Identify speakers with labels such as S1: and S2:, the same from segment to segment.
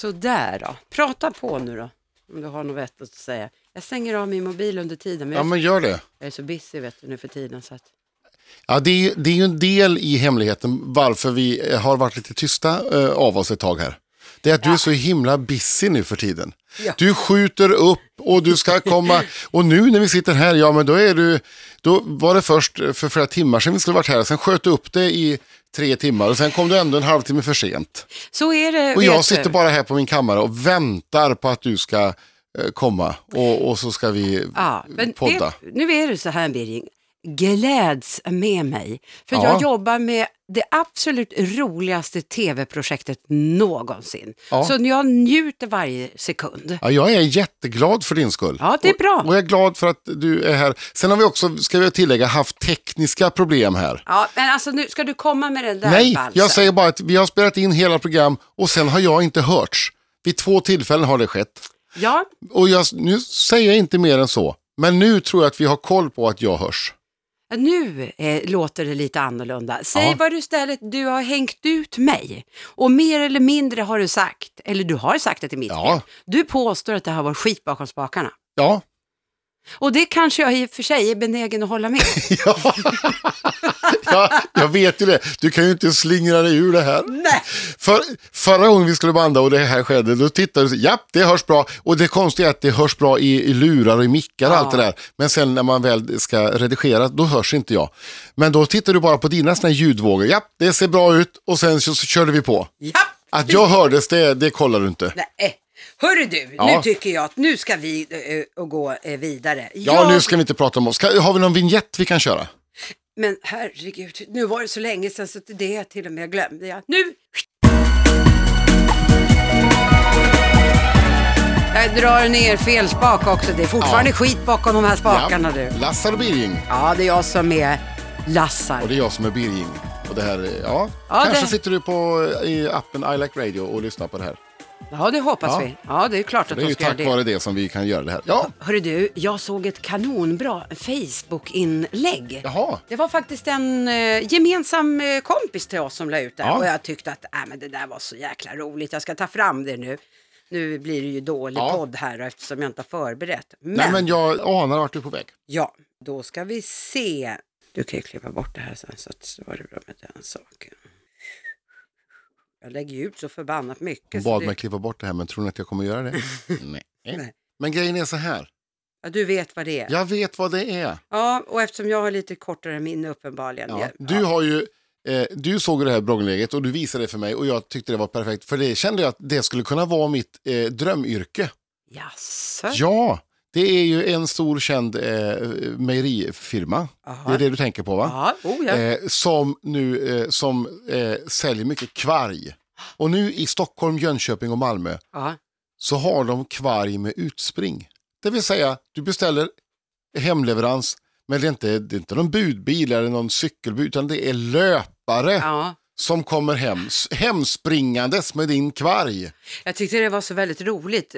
S1: Sådär då. Prata på nu då, om du har något vettigt att säga. Jag stänger av min mobil under tiden, men,
S2: Ja,
S1: jag,
S2: men gör det.
S1: jag är så busy vet du, nu för tiden. Så att,
S2: Ja, det, är, ju- det är ju en del i hemligheten varför vi eh, har varit lite tysta eh, av oss ett tag här. Det är att du är så himla busy nu för tiden.
S1: Ja.
S2: Du skjuter upp och du ska komma. Och nu när vi sitter här, ja men då är du, då var det först eh, för flera timmar sedan vi skulle varit här, sen sköt du upp det i tre timmar och sen kom du ändå en halvtimme för sent.
S1: så är det,
S2: Och
S1: vet
S2: jag
S1: du.
S2: sitter bara här på min kammare och väntar på att du ska eh, komma och, och så ska vi
S1: Ja, men
S2: podda.
S1: vet- nu är det så här Birging, gläds med mig. För
S2: Ja.
S1: jag jobbar med det absolut roligaste tv-projektet någonsin.
S2: Ja.
S1: Så jag njuter varje sekund.
S2: Ja, jag är jätteglad för din skull.
S1: Ja, det är bra.
S2: Och, och jag är glad för att du är här. Sen har vi också, ska jag tillägga, haft tekniska problem här.
S1: Ja, men alltså nu ska du komma med den där
S2: Nej,
S1: valsen.
S2: jag säger bara att vi har spelat in hela program och sen har jag inte hörts. Vid två tillfällen har det skett.
S1: Ja,
S2: Och jag, nu säger jag inte mer än så. Men nu tror jag att vi har koll på att jag hörs.
S1: nu eh, låter det lite annorlunda. Säg
S2: Ja.
S1: vad du istället, du har hängt ut mig. Och mer eller mindre har du sagt, eller du har sagt det till mitt
S2: Ja.
S1: fel. Du påstår att det har varit skit bakom spakarna.
S2: Ja,
S1: Och det kanske jag i och för sig är benägen att hålla med om.
S2: ja. ja jag vet ju det. Du kan ju inte slingra dig ur det här.
S1: Nej.
S2: För, förra gången vi skulle banda och det här skedde, då tittade du och sa, japp, det hörs bra. Och det konstiga är att det hörs bra i, i lurar och i mickar och allt det där. Men sen när man väl ska redigera, då hörs inte jag. Men då tittar du bara på dina såna här ljudvågor, japp, det ser bra ut. Och sen så, så körde vi på.
S1: Ja.
S2: Att jag hördes, det, det kollar du inte.
S1: Nej. Hörru du,
S2: Ja.
S1: nu tycker jag att nu ska vi eh, eh, gå eh, vidare.
S2: Ja, nu ska vi inte prata om oss. Ska, har vi någon vignett vi kan köra?
S1: Men herregud, nu var det så länge sedan så det är till och med glömde jag. Nu! Jag drar ner fel spak också. Det är fortfarande skit bakom de här spakarna du.
S2: Lassar Birging.
S1: Ja, det är jag som är Lassar.
S2: Och det är jag som är Birging. Och det här, är- ja.
S1: Ja,
S2: Kanske
S1: det-
S2: sitter du på, eh, i appen I like radio och lyssnar på det här.
S1: Ja, det hoppas
S2: Ja.
S1: vi. Ja, det är klart att
S2: Det är
S1: de
S2: ju
S1: ska göra
S2: tack
S1: det.
S2: vare det som vi kan göra det här. Ja,
S1: Hörru du, jag såg ett kanonbra Facebook-inlägg.
S2: jaha.
S1: Det var faktiskt en eh, gemensam eh, kompis till oss som la ut det här.
S2: Ja.
S1: och jag tyckte att äh, men det där var så jäkla roligt, jag ska ta fram det nu. Nu blir det ju dålig
S2: Ja.
S1: podd här eftersom jag inte har förberett. Men,
S2: Nej, men jag anar vart du är på väg.
S1: ja, då ska vi se. Du kan ju klippa bort det här sen så att så var det bra med den saken. Jag lägger ju ut så förbannat mycket.
S2: Hon
S1: Så
S2: bad mig
S1: det,
S2: klippa bort det här, men tror ni att jag kommer göra det? Nej.
S1: Nej.
S2: Men grejen är så här,
S1: ja, du vet vad det är. Ja.
S2: jag vet vad det är.
S1: och eftersom jag har lite kortare minne uppenbarligen.
S2: Ja.
S1: jag-
S2: Du, har ju, eh, du såg ju det här bloggläget och du visade det för mig och jag tyckte det var perfekt. För det kände jag att det skulle kunna vara mitt eh, drömyrke.
S1: Jaså?
S2: Ja, det är ju en stor känd eh, mejerifirma.
S1: Aha.
S2: Det är det du tänker på va?
S1: Ja, oh, ja.
S2: eh, som nu eh, som, eh, säljer mycket kvarg. Och nu i Stockholm, Jönköping och Malmö
S1: ja.
S2: så har de kvarg med utspring. Det vill säga, du beställer hemleverans, men det är inte, det är inte någon budbil eller någon cykelbud, utan det är löpare
S1: ja.
S2: som kommer hem, s- hemspringandes med din kvarg.
S1: Jag tyckte det var så väldigt roligt.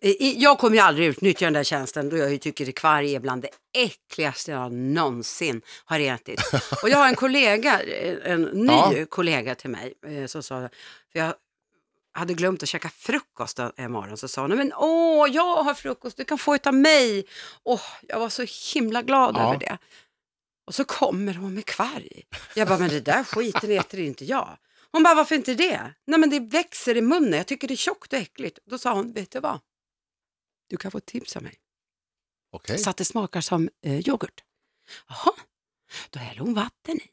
S1: I- Jag kommer ju aldrig utnyttja den där tjänsten då jag ju tycker att kvarg är bland det äckligaste jag någonsin har ätit. Och jag har en kollega, en ny
S2: Ja.
S1: kollega till mig, eh, som sa, för jag hade glömt att käka frukost en morgon, så sa hon, men åh, jag har frukost, du kan få ett av mig. Åh, jag var så himla glad
S2: Ja.
S1: över det. Och så kommer hon med kvarg. Jag bara, men det där skiten äter inte jag. Hon bara, varför inte det? Nej men det växer i munnen, jag tycker det är tjockt och äckligt. Då sa hon, vet du vad? Du kan få ett tips av mig.
S2: Okej.
S1: Så att det smakar som eh, yoghurt. Jaha, då häller hon vatten i.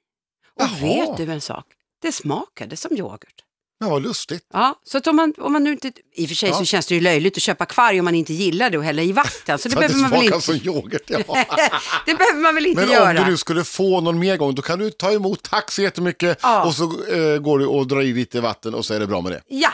S1: Och
S2: Jaha.
S1: vet du en sak? Det smakade som yoghurt.
S2: Ja, vad lustigt.
S1: Ja, så att om man, om man nu inte, i och för sig
S2: Ja.
S1: så känns det ju löjligt att köpa kvarg om man inte gillar det och hälla i vatten. Så det,
S2: För att det
S1: behöver, man väl
S2: smakar
S1: inte,
S2: som yoghurt. Ja.
S1: det behöver man väl inte
S2: Men
S1: göra.
S2: om du nu skulle få någon mer gång, då kan du ta emot tack så jättemycket
S1: Ja.
S2: och så eh, går du och drar i lite vatten och så är det bra med det.
S1: Ja,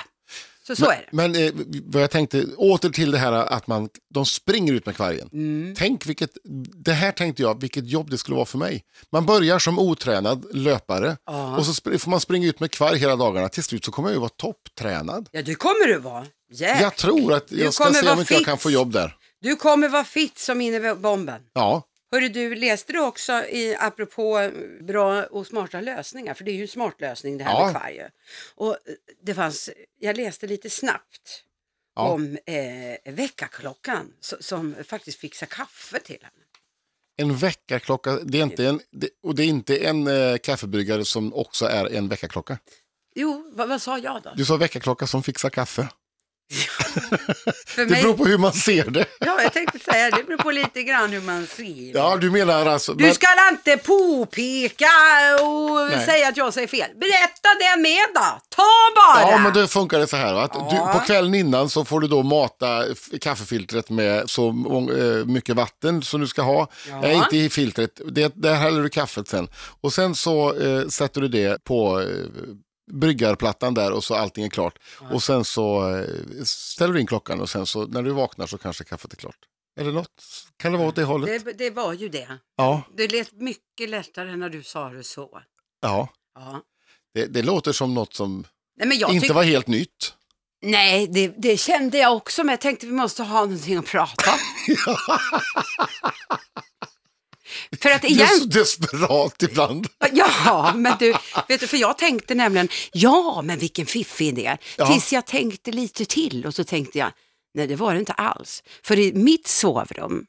S1: så så är det.
S2: Men eh, vad jag tänkte, åter till det här att man, de springer ut med kvargen.
S1: Mm.
S2: Tänk vilket, det här tänkte jag, vilket jobb det skulle vara för mig. Man börjar som otränad löpare
S1: Ja.
S2: och så spr- får man springa ut med kvarg hela dagarna. Till slut så kommer jag ju vara topptränad.
S1: Ja, det kommer du vara. Jäklar.
S2: Jag tror att
S1: Äh, Du
S2: jag ska
S1: kommer
S2: se
S1: vara
S2: om inte jag
S1: fit.
S2: kan få jobb där.
S1: Du kommer vara fit som inne vid bomben.
S2: Ja,
S1: Hörru du, läste du också i, apropå bra och smarta lösningar, för det är ju en smart lösning det här
S2: Ja.
S1: med kvar ju. Och eh, det fanns, jag läste lite snabbt
S2: Ja.
S1: om eh, väckarklockan so- som faktiskt fixar kaffe till henne.
S2: En väckarklocka, det är inte en, det, och det är inte en eh, kaffebryggare som också är en väckarklocka.
S1: Jo, vad, vad sa jag då?
S2: Du sa väckarklocka som fixar kaffe.
S1: för
S2: Det
S1: mig,
S2: beror på hur man ser det.
S1: ja, jag tänkte säga det beror på lite grann hur man ser.
S2: Ja, du menar alltså...
S1: Du
S2: men-
S1: ska inte påpeka och
S2: Nej.
S1: säga att jag säger fel. Berätta det med då! Ta bara!
S2: Ja, men då funkar det så här. va? Att
S1: Ja.
S2: du, på kvällen innan så får du då mata f- kaffefiltret med så mång- eh, mycket vatten som du ska ha.
S1: Ja.
S2: Nej, inte i filtret. Det, där häller du kaffet sen. Och sen så eh, sätter du det på eh, bryggarplattan där och så allting är klart. Och sen så eh, ställer du in klockan och sen så när du vaknar så kanske kaffet är klart. Eller något. Kan det vara åt det hållet?
S1: det, det var ju det.
S2: Ja.
S1: Det lät mycket lättare när du sa det så.
S2: ja.
S1: Ja.
S2: Det, det låter som något som
S1: Nej, men jag
S2: inte
S1: tyck-
S2: var helt nytt.
S1: Nej det, det kände jag också, men jag tänkte vi måste ha någonting att prata om. För att
S2: Du är så
S1: igen,
S2: desperat ibland.
S1: ja, men du, vet du, för jag tänkte nämligen, ja, men vilken fiffig idé.
S2: Ja.
S1: Tills jag tänkte lite till och så tänkte jag, nej det var det inte alls. För i mitt sovrum,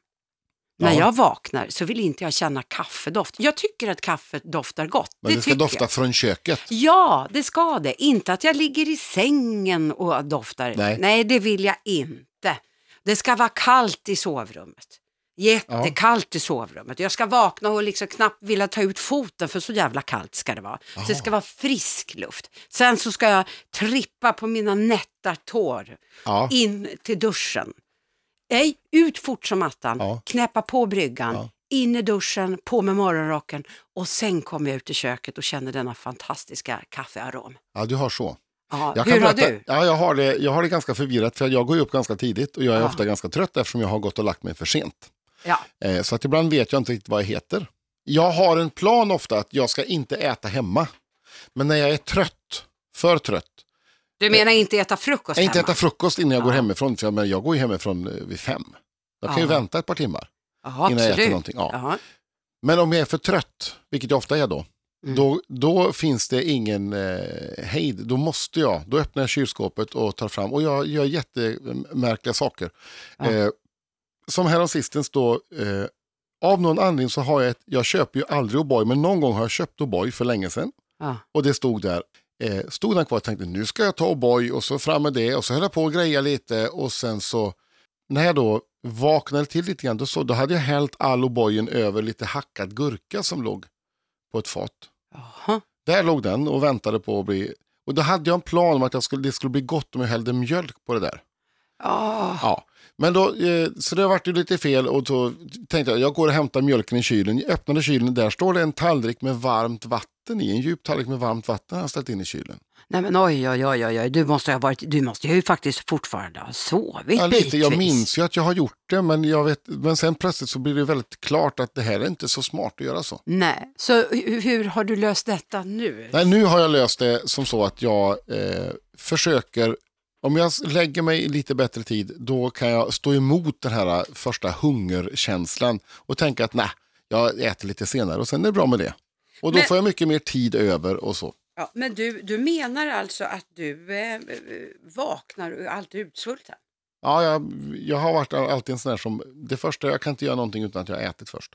S1: när
S2: Ja.
S1: jag vaknar så vill inte jag känna kaffedoft. Jag tycker att kaffet doftar gott.
S2: Men det, ska
S1: tycker jag.
S2: dofta från köket.
S1: Ja, det ska det. Inte att jag ligger i sängen och doftar.
S2: Nej.
S1: det vill jag inte. Det ska vara kallt i sovrummet. Jättekallt i sovrummet. Jag ska vakna och liksom knappt vilja ta ut foten för så jävla kallt ska det vara. Så det ska vara frisk luft. Sen så ska jag trippa på mina nätta tår
S2: Ja.
S1: in till duschen. Nej, ut fort som attan,
S2: Ja.
S1: knäppa på bryggan,
S2: Ja.
S1: in i duschen, på med morgonrocken och sen kommer jag ut i köket och känner denna fantastiska kaffearom.
S2: Ja, du har så.
S1: Ja,
S2: Jag
S1: hur har
S2: berätta-
S1: du?
S2: Ja, jag, har det, jag har det ganska förvirrat för jag går ju upp ganska tidigt och jag är
S1: Ja.
S2: ofta ganska trött eftersom jag har gått och lagt mig för sent.
S1: Ja,
S2: Eh, så att ibland vet jag inte riktigt vad jag heter. Jag har en plan ofta att jag ska inte äta hemma. Men när jag är trött, för trött,
S1: du menar inte äta frukost
S2: jag inte
S1: hemma?
S2: äta frukost innan jag går
S1: Ja.
S2: hemifrån, för jag, men jag går ju hemifrån eh, vid fem. Jag kan ju
S1: Ja.
S2: vänta ett par timmar
S1: ja,
S2: innan jag äter
S1: absolut.
S2: någonting. Ja.
S1: Ja.
S2: Men om jag är för trött, vilket jag ofta är då,
S1: Mm.
S2: då, då finns det ingen eh, hejd. Då måste jag, då öppnar jag kylskåpet och tar fram, och jag gör jättemärkliga saker.
S1: Ja.
S2: Eh, som häromsistens då, eh, av någon anledning så har jag ett, jag köper ju aldrig O'boy, men någon gång har jag köpt O'boy för länge sedan.
S1: Ja.
S2: Och det stod där, eh, stod den kvar och tänkte nu ska jag ta O'boy och så fram med det och så höll jag på och greja lite och sen så när jag då vaknade till lite grann då, så, då hade jag hällt all O'boyen över lite hackad gurka som låg på ett fat.
S1: Jaha.
S2: Där låg den och väntade på att bli och då hade jag en plan om att jag skulle, det skulle bli gott om jag hällde mjölk på det där.
S1: Ja.
S2: Ja, men då, eh, så det vart ju lite fel och då tänkte jag, jag går och hämtar mjölken i kylen. Jag öppnade kylen, där står det en tallrik med varmt vatten i, en djup tallrik med varmt vatten har jag ställt in i kylen.
S1: Nej men oj, oj, oj, oj, oj. Du, måste ha varit, du måste ju faktiskt fortfarande ha sovit
S2: Ja, lite,
S1: bitvis.
S2: jag minns ju att jag har gjort det, men, jag vet, men sen plötsligt så blir det väldigt klart att det här är inte så smart att göra så.
S1: Nej, så hur, hur har du löst detta nu?
S2: Nej, nu har jag löst det som så att jag eh, försöker, om jag s- lägger mig i lite bättre tid, då kan jag stå emot den här eh, första hungerkänslan och tänka att nej, jag äter lite senare och sen är det bra med det. Och då
S1: Men-
S2: får jag mycket mer tid över och så.
S1: Ja, men du, du menar alltså att du eh, eh, vaknar och är alltid utsvulten?
S2: Ja, jag, jag har varit alltid en sån här som, det första, jag kan inte göra någonting utan att jag har ätit först.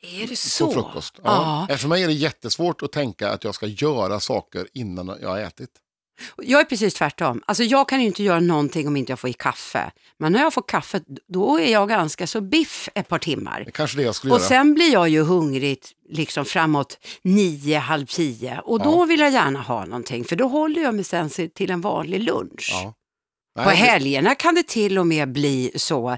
S1: Är det
S2: På
S1: så?
S2: frukost. Ja.
S1: Ja.
S2: För mig är det jättesvårt att tänka att jag ska göra saker innan jag har ätit.
S1: Jag är precis tvärtom. Alltså jag kan ju inte göra någonting om inte jag får i kaffe. Men när jag får kaffe, då är jag ganska så biff ett par timmar.
S2: Det är kanske det jag skulle
S1: Och
S2: göra.
S1: sen blir jag ju hungrig liksom framåt nio, halv tio. Och då
S2: Ja.
S1: vill jag gärna ha någonting, för då håller jag mig sen se- till en vanlig lunch.
S2: Ja.
S1: På
S2: Nej, det-
S1: helgerna kan det till och med bli så, eh,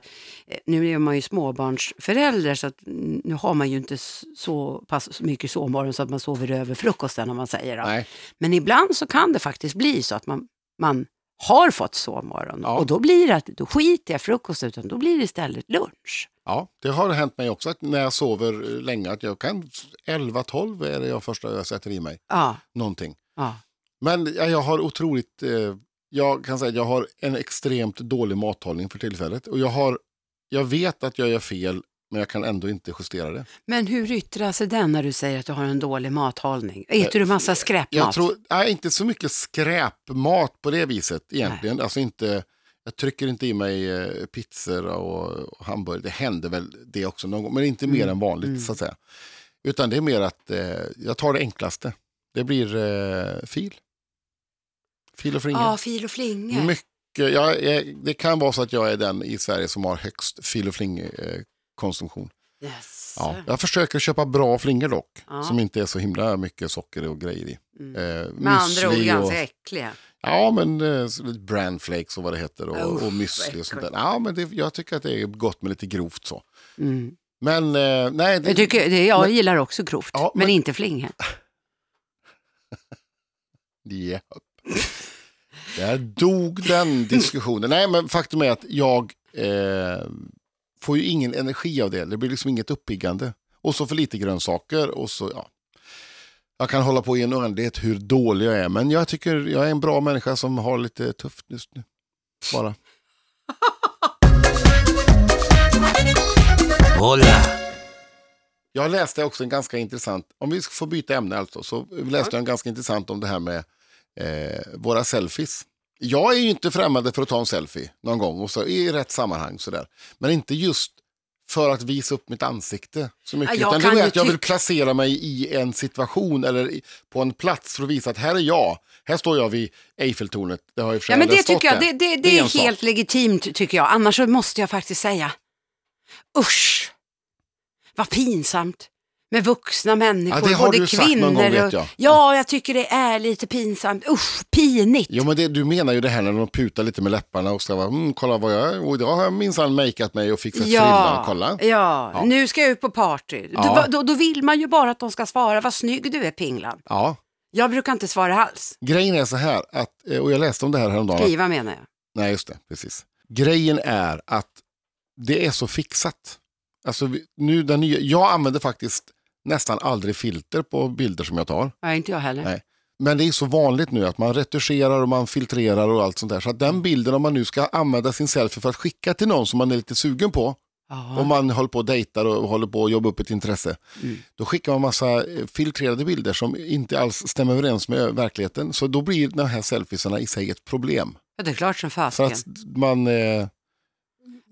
S1: nu är man ju småbarnsförälder så att mm, nu har man ju inte s- så pass mycket sovmorgon så att man sover över frukosten om man säger. Då.
S2: Nej.
S1: Men ibland så kan det faktiskt bli så att man, man har fått sovmorgon
S2: Ja.
S1: och då blir det att då skiter jag i frukost utan då blir det istället lunch.
S2: Ja, det har hänt mig också att när jag sover eh, länge att jag kan 11-12 är det jag första jag sätter i mig
S1: Ja,
S2: någonting.
S1: ja.
S2: Men ja, jag har otroligt, eh, jag kan säga att jag har en extremt dålig mathållning för tillfället och jag har, jag vet att jag gör fel men jag kan ändå inte justera det.
S1: Men hur yttrar sig den när du säger att du har en dålig mathållning? Äter du massa
S2: Eh, Jag
S1: skräpmat?
S2: tror, nej, inte så mycket skräpmat på det viset egentligen. Alltså inte, jag trycker inte i mig eh, pizzor och, och hamburgare. Det händer väl det också någon gång, men inte mer än vanligt så att säga. Utan det är mer att eh, jag tar det enklaste. Det blir eh, fil. Fil och flingor.
S1: Ja, fil och flingor.
S2: Mycket, jag är, det kan vara så att jag är den i Sverige som har högst fil och fling eh, konsumtion.
S1: Yes.
S2: Ja. Jag försöker köpa bra flingor dock,
S1: Alltså. Ja.
S2: som inte är så himla mycket socker och grejer i.
S1: Mm.
S2: Eh,
S1: Med andra ord
S2: müsli och,
S1: ganska äckliga.
S2: Ja, men eh, så lite bran flakes och vad det heter och,
S1: Usch,
S2: och müsli och
S1: äckligt.
S2: sånt där. Ja, men det, jag tycker att det är gott med lite grovt så.
S1: Mm.
S2: Men eh, nej, det,
S1: Jag, tycker, det, jag gillar också grovt,
S2: Ja,
S1: men,
S2: men-
S1: inte flingor.
S2: Ja. Där dog den diskussionen. Nej, men faktum är att jag eh, får ju ingen energi av det. Det blir liksom inget uppiggande. Och så för lite grönsaker och så, ja. Jag kan hålla på i en oändlighet hur dålig jag är, men jag tycker jag är en bra människa som har lite tufft just nu. Bara.
S3: Hola,
S2: Jag läste också en ganska intressant, om vi får byta ämne alltså, så läste jag en ganska intressant om det här med eh, våra selfies. Jag är ju inte främmande för att ta en selfie någon gång och så, i rätt sammanhang sådär. Men inte just för att visa upp mitt ansikte så
S1: Ja,
S2: mycket.
S1: jag
S2: utan det är
S1: kan
S2: mer
S1: ju
S2: att jag vill
S1: tycka-
S2: placera mig i en situation eller i, på en plats för att visa att här är jag. Här står jag vid Eiffeltornet. Det har jag i och för sig
S1: Ja, men
S2: aldrig
S1: det
S2: stått
S1: tycker jag,
S2: där.
S1: det, det, det,
S2: Det är en
S1: är helt legitimt tycker jag. Annars så måste jag faktiskt säga, usch, vad pinsamt med vuxna människor,
S2: Ja, det har
S1: både
S2: du sagt någon
S1: kvinnor
S2: gång, vet
S1: och...
S2: jag.
S1: Ja, jag tycker det är lite pinsamt. Usch, pinigt.
S2: Jo, men det, du menar ju det här när de putar lite med läpparna och ska vara, mm, kolla vad jag är, och idag har jag minsann makeat mig och fixat frillan, kolla.
S1: ja,
S2: Ja.
S1: nu ska jag ut på party.
S2: Ja.
S1: Då, då, då vill man ju bara att de ska svara, vad snygg du är Pinglan.
S2: Ja,
S1: Jag brukar inte svara alls,
S2: grejen är så här, att, eh, och jag läste om det här häromdagen. att-
S1: skriva menar jag.
S2: Nej, just det, precis. Grejen är att det är så fixat. Alltså, vi- nu, den nya, jag använder faktiskt nästan aldrig filter på bilder som jag tar.
S1: Ja, inte jag heller.
S2: Nej. Men det är så vanligt nu att man retuscherar och man filtrerar och allt sånt där. Så att den bilden, om man nu ska använda sin selfie för att skicka till någon som man är lite sugen på,
S1: Ja. Mm.
S2: Om man håller på och dejtar och håller på att jobba upp ett intresse. Då skickar man massa eh, filtrerade bilder som inte alls stämmer överens med ö- verkligheten. Så då blir de här selfiesarna i sig ett problem.
S1: Ja, det är klart som
S2: För
S1: fasiken.
S2: att man, eh,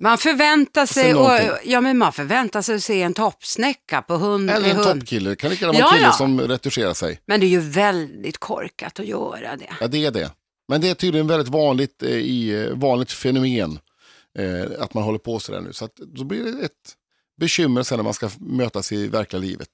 S1: Man förväntar sig,
S2: Sen någonting.
S1: och, ja, men man förväntar sig att se en toppsnäcka på hund,
S2: eller
S1: i
S2: en
S1: hund.
S2: toppkille, det kan lika gärna
S1: Mm,
S2: vara
S1: Ja,
S2: en kille
S1: ja.
S2: som retuscherar sig.
S1: Men det är ju väldigt korkat att göra det.
S2: Ja, det är det. Men det är tydligen väldigt vanligt, eh, i, eh, vanligt fenomen eh, att man håller på sådär nu. Så att, då blir det ett bekymmer sen när man ska f- mötas i verkliga livet.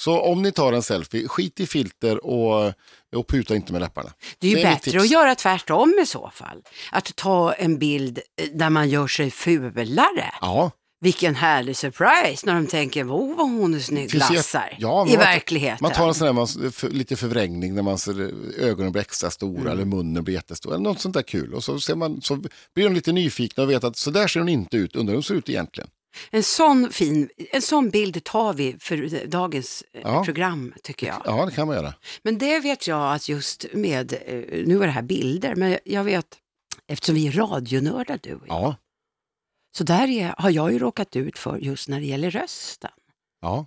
S2: Så om ni tar en selfie, skit i filter och, och puta inte med läpparna.
S1: Det är ju
S2: Det är mitt
S1: bättre
S2: tips.
S1: att göra tvärtom i så fall. Att ta en bild eh, där man gör sig fulare.
S2: Ja,
S1: Vilken härlig surprise när de tänker, oh vad hon är snygg,
S2: Finns det-
S1: glassar.
S2: Ja, men
S1: I
S2: man-
S1: verkligheten.
S2: man tar en sån där man, för, lite förvrängning när man ser, eh, ögonen blir extra stora
S1: Mm.
S2: eller munnen blir jättestor. Eller något sånt där kul. Och så, ser man, så blir de lite nyfikna och vet att så där ser hon inte ut. Undrar hur hon ser ut egentligen.
S1: En sån fin, en sån bild tar vi för eh, dagens eh,
S2: Ja.
S1: program tycker jag.
S2: Ja, det kan man göra.
S1: Men det vet jag att just med, eh, nu var det här bilder, men jag vet, eftersom vi är radionördar du och jag,
S2: Ja,
S1: så där är, har jag ju råkat ut för just när det gäller rösten.
S2: ja,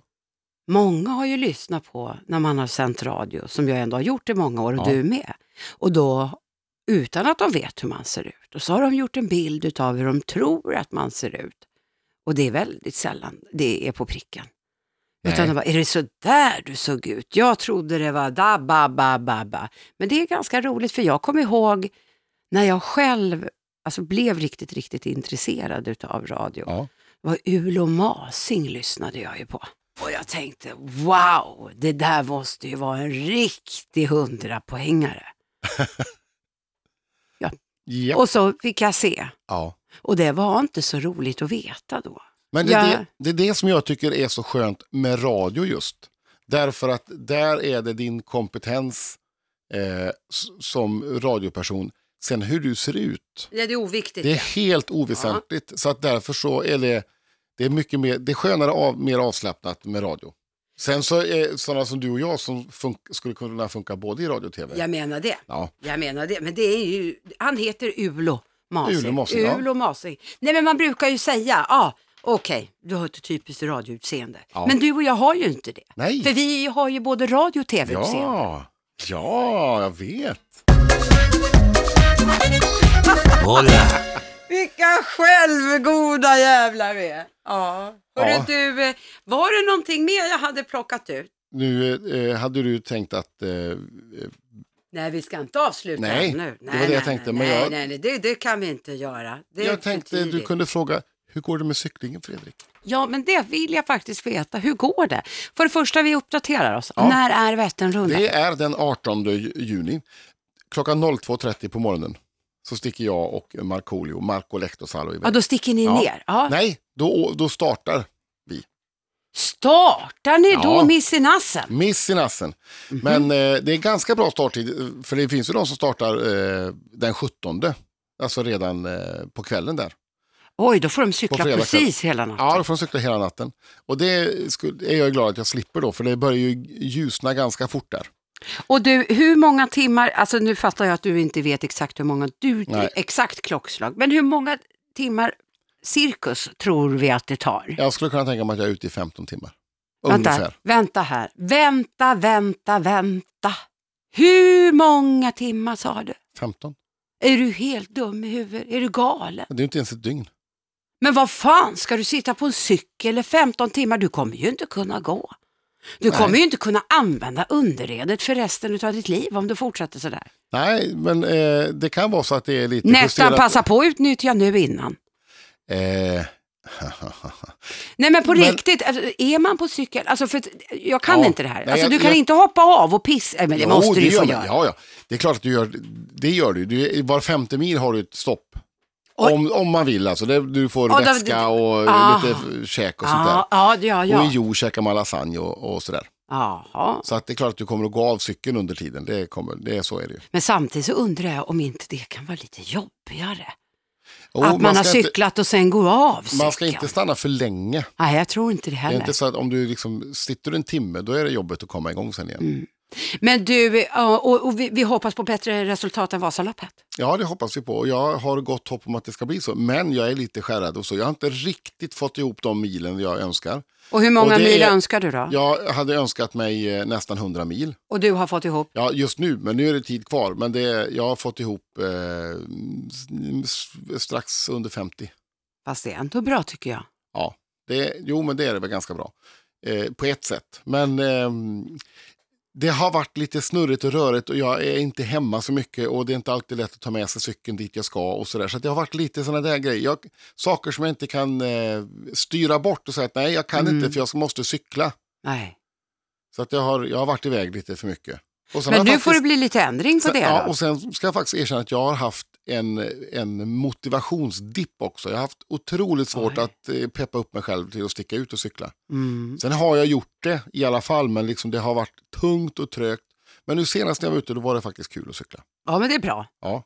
S1: Många har ju lyssnat på när man har sänt radio, som jag ändå har gjort i många år och
S2: Ja.
S1: du med. Och då, utan att de vet hur man ser ut, och så har de gjort en bild av hur de tror att man ser ut. Och det är väldigt sällan det är på pricken. Utan
S2: Nej.
S1: de bara, är det så där du såg ut? Jag trodde det var da ba ba ba ba. Men det är ganska roligt för jag kommer ihåg när jag själv alltså, blev riktigt, riktigt intresserad utav radio.
S2: ja.
S1: Det var Ulo Masing lyssnade jag ju på. Och jag tänkte, wow, det där måste ju vara en riktig hundrapoängare.
S2: ja.
S1: Och så fick jag se.
S2: ja.
S1: Och det var inte så roligt att veta då.
S2: Men det, är
S1: Ja.
S2: det, det är det som jag tycker är så skönt med radio just. Därför att där är det din kompetens eh, s- som radioperson. Sen hur du ser ut.
S1: Ja, det är oviktigt.
S2: Det är helt oväsentligt. Så att därför så är det, det är mycket mer, det är skönare av, mer avslappnat med radio. Sen så är sådana som du och jag som fun- skulle kunna funka både i radio och tv.
S1: Jag menar det.
S2: Ja.
S1: Jag menar det. Men det är ju, han heter Ulo Masing.
S2: Ulo Masing, ja.
S1: Ulo Masing. Nej men man brukar ju säga, ja, okej, du har ett typiskt radioutseende.
S2: Ja.
S1: Men du och jag har ju inte det.
S2: Nej.
S1: För vi har ju både radio och tv-utseende.
S2: Ja, ja, jag vet.
S3: Hola,
S1: Vilka självgoda jävlar vi är. Ja. Hörru
S2: Ja.
S1: du, eh, var det någonting mer jag hade plockat ut?
S2: Nu eh, hade du tänkt att... Eh,
S1: Nej, vi ska inte avsluta
S2: Nej,
S1: ännu.
S2: det var det jag tänkte, men
S1: Nej,
S2: jag-
S1: nej, nej det, det kan vi inte göra. Det är
S2: jag
S1: för
S2: tänkte du
S1: tidigt.
S2: kunde fråga, hur går det med cyklingen Fredrik?
S1: Ja, men det vill jag faktiskt veta. Hur går det? För det första, vi uppdaterar oss.
S2: Ja.
S1: När är Vätternrundan?
S2: Det är den 18 ju- juni. Klockan 02.30 på morgonen så sticker jag och Markoolio, Marco Lehtosalo
S1: Ja,
S2: iväg.
S1: då sticker ni
S2: Ja.
S1: ner. Ja.
S2: Nej, då, då startar
S1: Startar ni då
S2: Ja.
S1: Miss i nassen?
S2: Miss i nassen.
S1: Mhm.
S2: Men eh, det är ganska bra starttid, eh, för det finns ju de som startar eh, den 17. Alltså redan eh, på kvällen där.
S1: Oj, då får de
S2: På
S1: cykla
S2: fredag kväll.
S1: precis hela natten.
S2: Ja, då får de cykla hela natten. Och det skulle, är jag glad att jag slipper då, för det börjar ju ljusna ganska fort där.
S1: Och du, hur många timmar, alltså nu fattar jag att du inte vet exakt hur många, du,
S2: Nej.
S1: exakt klockslag, men hur många timmar cirkus tror vi att det tar?
S2: Jag skulle kunna tänka mig att jag är ute i 15 timmar.
S1: vänta,
S2: Ungefär.
S1: vänta här, vänta, vänta, vänta. Hur många timmar sa du?
S2: 15?
S1: Är du helt dum i huvudet? Är du galen?
S2: Det är ju inte ens ett dygn.
S1: Men vad fan, ska du sitta på en cykel i 15 timmar? Du kommer ju inte kunna gå. Du
S2: Nej.
S1: kommer ju inte kunna använda underredet för resten av ditt liv om du fortsätter sådär.
S2: Nej, men eh, det kan vara så att det är lite
S1: Nästan
S2: justerat.
S1: passa på att utnyttja nu innan.
S2: Eh,
S1: Nej men på
S2: Men-
S1: riktigt, alltså, är man på cykel, alltså för att, jag kan
S2: Ja.
S1: inte det här.
S2: Nej,
S1: Alltså,
S2: jag-
S1: du kan
S2: jag-
S1: inte hoppa av och pissa, Nej, men det
S2: jo,
S1: måste du ju
S2: gör
S1: få
S2: man.
S1: göra.
S2: Ja, ja. Det är klart att du gör, det gör du. du var femte mil har du ett stopp.
S1: Oj.
S2: Om, om man vill alltså. Det, du får
S1: Ja, då-
S2: väska och
S1: Ah.
S2: lite käk och sånt där.
S1: Ja, ja, ja,
S2: Och i
S1: ja.
S2: Hjo käkar man lasagne och, och sådär.
S1: Jaha.
S2: Så att det är klart att du kommer att gå av cykeln under tiden. Det kommer, det, är- så är det ju.
S1: Men samtidigt så undrar jag om inte det kan vara lite jobbigare.
S2: Jo,
S1: att man, har
S2: ska inte-
S1: cyklat och sen går av cykeln.
S2: Man ska inte stanna för länge.
S1: Nej, jag tror inte det
S2: Det är
S1: heller.
S2: inte så att om du liksom, sitter du en timme, då är det jobbigt att komma igång sen igen.
S1: Men du, ja, och, och vi, vi hoppas på bättre resultat än Vasaloppet.
S2: Ja, det hoppas vi på. Och Jag har gott hopp om att det ska bli så. Men jag är lite skärrad och så. Jag har inte riktigt fått ihop de milen jag önskar.
S1: Och hur många
S2: Och det
S1: mil
S2: är-
S1: önskar du då?
S2: Jag hade önskat mig eh, nästan 100 mil.
S1: Och du har fått ihop?
S2: Ja, just nu, men nu är det tid kvar. Men det, jag har fått ihop eh, s- strax under 50.
S1: Fast det är ändå bra tycker jag.
S2: Ja, det, jo men det är det väl ganska bra. Eh, på ett sätt. Men ehm, det har varit lite snurrigt och rörigt och jag är inte hemma så mycket och det är inte alltid lätt att ta med sig cykeln dit jag ska och sådär. Så att det har varit lite sådana där grejer. Jag, saker som jag inte kan eh, styra bort och säga att nej jag kan
S1: Mm.
S2: inte för jag måste cykla.
S1: Nej.
S2: Så att jag har, jag har varit iväg lite för mycket. Och sen
S1: Men
S2: har
S1: nu
S2: jag
S1: får det
S2: faktiskt-
S1: bli lite ändring på
S2: Sen-
S1: det
S2: ja,
S1: då.
S2: och sen ska jag faktiskt erkänna att jag har haft en, en motivationsdipp också. Jag har haft otroligt svårt
S1: Oj.
S2: att eh, peppa upp mig själv till att sticka ut och cykla.
S1: Mm.
S2: Sen har jag gjort det i alla fall, men liksom det har varit tungt och trögt. Men nu senast när jag var ute, då var det faktiskt kul att cykla.
S1: Ja, men det är bra.
S2: Ja.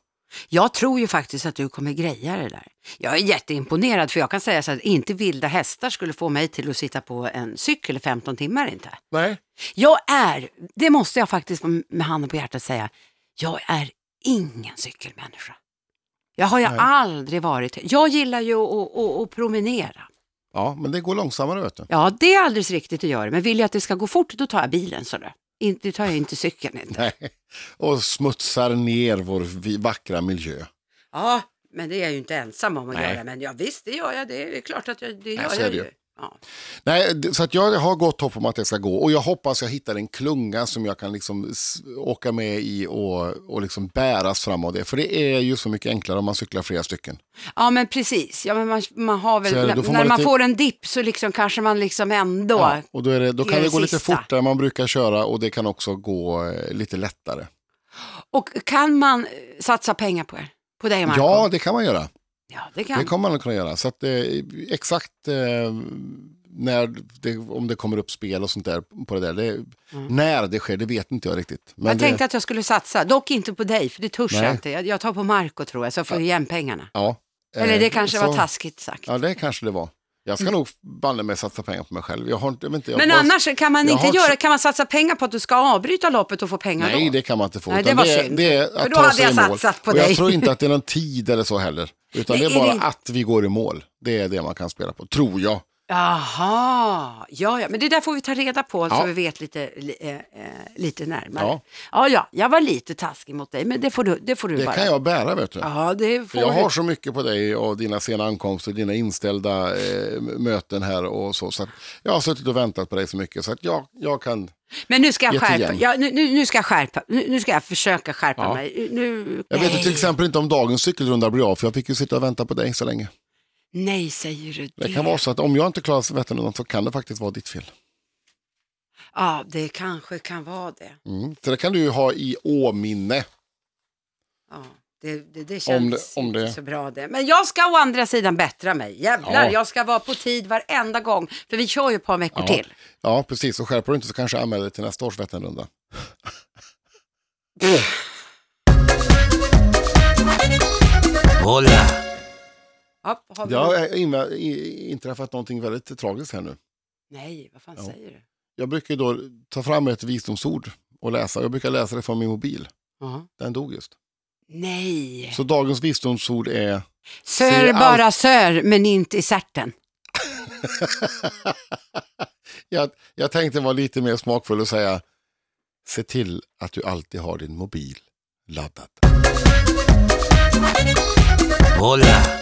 S1: Jag tror ju faktiskt att du kommer greja det där. Jag är jätteimponerad för jag kan säga så att inte vilda hästar skulle få mig till att sitta på en cykel i 15 timmar inte.
S2: Nej.
S1: Jag är, det måste jag faktiskt med handen på hjärtat säga, jag är ingen cykelmänniska. Jag har jag
S2: Nej.
S1: aldrig varit. Jag gillar ju att, att, att, att promenera.
S2: Ja, men det går långsammare vet du.
S1: Ja, det är alldeles riktigt att göra. Men vill jag att det ska gå fort, då tar jag bilen. Så det. Inte tar jag inte cykeln. Inte.
S2: Nej. Och smutsar ner vår vi- vackra miljö.
S1: Ja, men det är jag ju inte ensam om att
S2: Nej.
S1: göra. Men ja, visst, det gör jag. Det är klart att jag, det
S2: Nej,
S1: gör
S2: så är
S1: jag
S2: det
S1: ju.
S2: ju.
S1: Ja.
S2: Nej, det- så att jag har gott hopp om att det ska gå och jag hoppas jag hittar en klunga som jag kan liksom s- åka med i och, och liksom bäras fram av det. För det är ju så mycket enklare om man cyklar flera stycken.
S1: ja, men precis. Ja, men man, man har väl,
S2: Så är det, då
S1: när
S2: får
S1: man
S2: man lite-
S1: får en dipp så liksom kanske man liksom ändå...
S2: Ja, och då, är det, då
S1: Gör
S2: kan det
S1: det
S2: gå lite
S1: sista.
S2: fortare än man brukar köra och det kan också gå eh, lite lättare.
S1: Och kan man eh, satsa pengar på er? På dig, Marco?
S2: Ja, det kan man göra.
S1: ja det kan
S2: Det kommer man att kunna göra. Så att, eh, exakt eh, när det, om det kommer upp spel och sånt där på det där. Det, När det sker, det vet inte jag riktigt. Men
S1: Mm. Jag
S2: det,
S1: tänkte att jag skulle satsa, dock inte på dig, för det törs jag
S2: Nej.
S1: inte. Jag, jag tar på Marco tror jag, så jag får igen pengarna.
S2: ja, eh,
S1: Eller det kanske
S2: så-
S1: var taskigt sagt.
S2: Ja, det kanske det var. Jag ska nog banne mig satsa pengar på mig själv. Jag har inte, jag vet inte, jag
S1: Men
S2: har-
S1: annars kan man
S2: jag
S1: inte
S2: har-
S1: göra, kan man satsa pengar på att du ska avbryta loppet och få pengar
S2: Nej,
S1: då?
S2: det kan man inte få.
S1: Nej,
S2: utan
S1: det var
S2: är-
S1: synd.
S2: Det är att
S1: För då
S2: ta
S1: hade
S2: sig
S1: jag
S2: i mål.
S1: satsat på
S2: och
S1: dig.
S2: Jag tror inte att det är någon tid eller så heller. Utan
S1: Men
S2: det
S1: är
S2: är bara
S1: det inte-
S2: att vi går i mål. Det är det man kan spela på, tror jag.
S1: Jaha, ja, ja, men det där får vi ta reda på så
S2: Ja.
S1: vi vet lite, li- eh, eh, lite närmare. Ja.
S2: Ja.
S1: ja, jag var lite taskig mot dig, men det får du, det får du
S2: Det
S1: bara.
S2: kan jag bära, vet du.
S1: Ja, det får
S2: För jag
S1: du.
S2: har så mycket på dig och dina sena ankomster, dina inställda eh, möten här och så. så att jag har suttit och väntat på dig så mycket så att jag, jag kan...
S1: Men nu ska jag
S2: Jätte
S1: skärpa,
S2: igen.
S1: ja, nu, nu nu ska jag skärpa, nu, nu ska jag försöka skärpa
S2: Ja.
S1: mig. Nu,
S2: Jag vet ju
S1: nej.
S2: till exempel inte om dagens cykelrunda blir av för jag fick ju sitta och vänta på dig så länge.
S1: nej, säger du det.
S2: Det kan vara så att om jag inte klarar Vätternrundan så kan det faktiskt vara ditt fel.
S1: Ja, det kanske kan vara det.
S2: Mm. Så det kan du ju ha i åminne.
S1: Ja, det, det, det känns
S2: det- om
S1: inte
S2: det-
S1: så bra det. Men jag ska å andra sidan bättra mig. Jävlar,
S2: Ja.
S1: jag ska vara på tid varenda gång. För vi kör ju ett par veckor
S2: Ja.
S1: till.
S2: Ja, precis. Och skärper du inte så kanske jag anmäler dig till nästa års Vätternrunda.
S3: hola,
S1: Ja, har vi
S2: Det har
S1: något?
S2: eh, inva- i- inträffat någonting väldigt tragiskt här nu.
S1: Nej, vad fan
S2: Ja.
S1: säger du?
S2: Jag brukar ju då ta fram ett visdomsord och läsa. Jag brukar läsa det från min mobil.
S1: Ja.
S2: Den dog just.
S1: Nej.
S2: Så dagens visdomsord är...
S1: Sör
S2: allt-
S1: bara sör, men inte i stjärten.
S2: jag, jag tänkte vara lite mer smakfull och säga se till att du alltid har din mobil laddad.
S3: hola.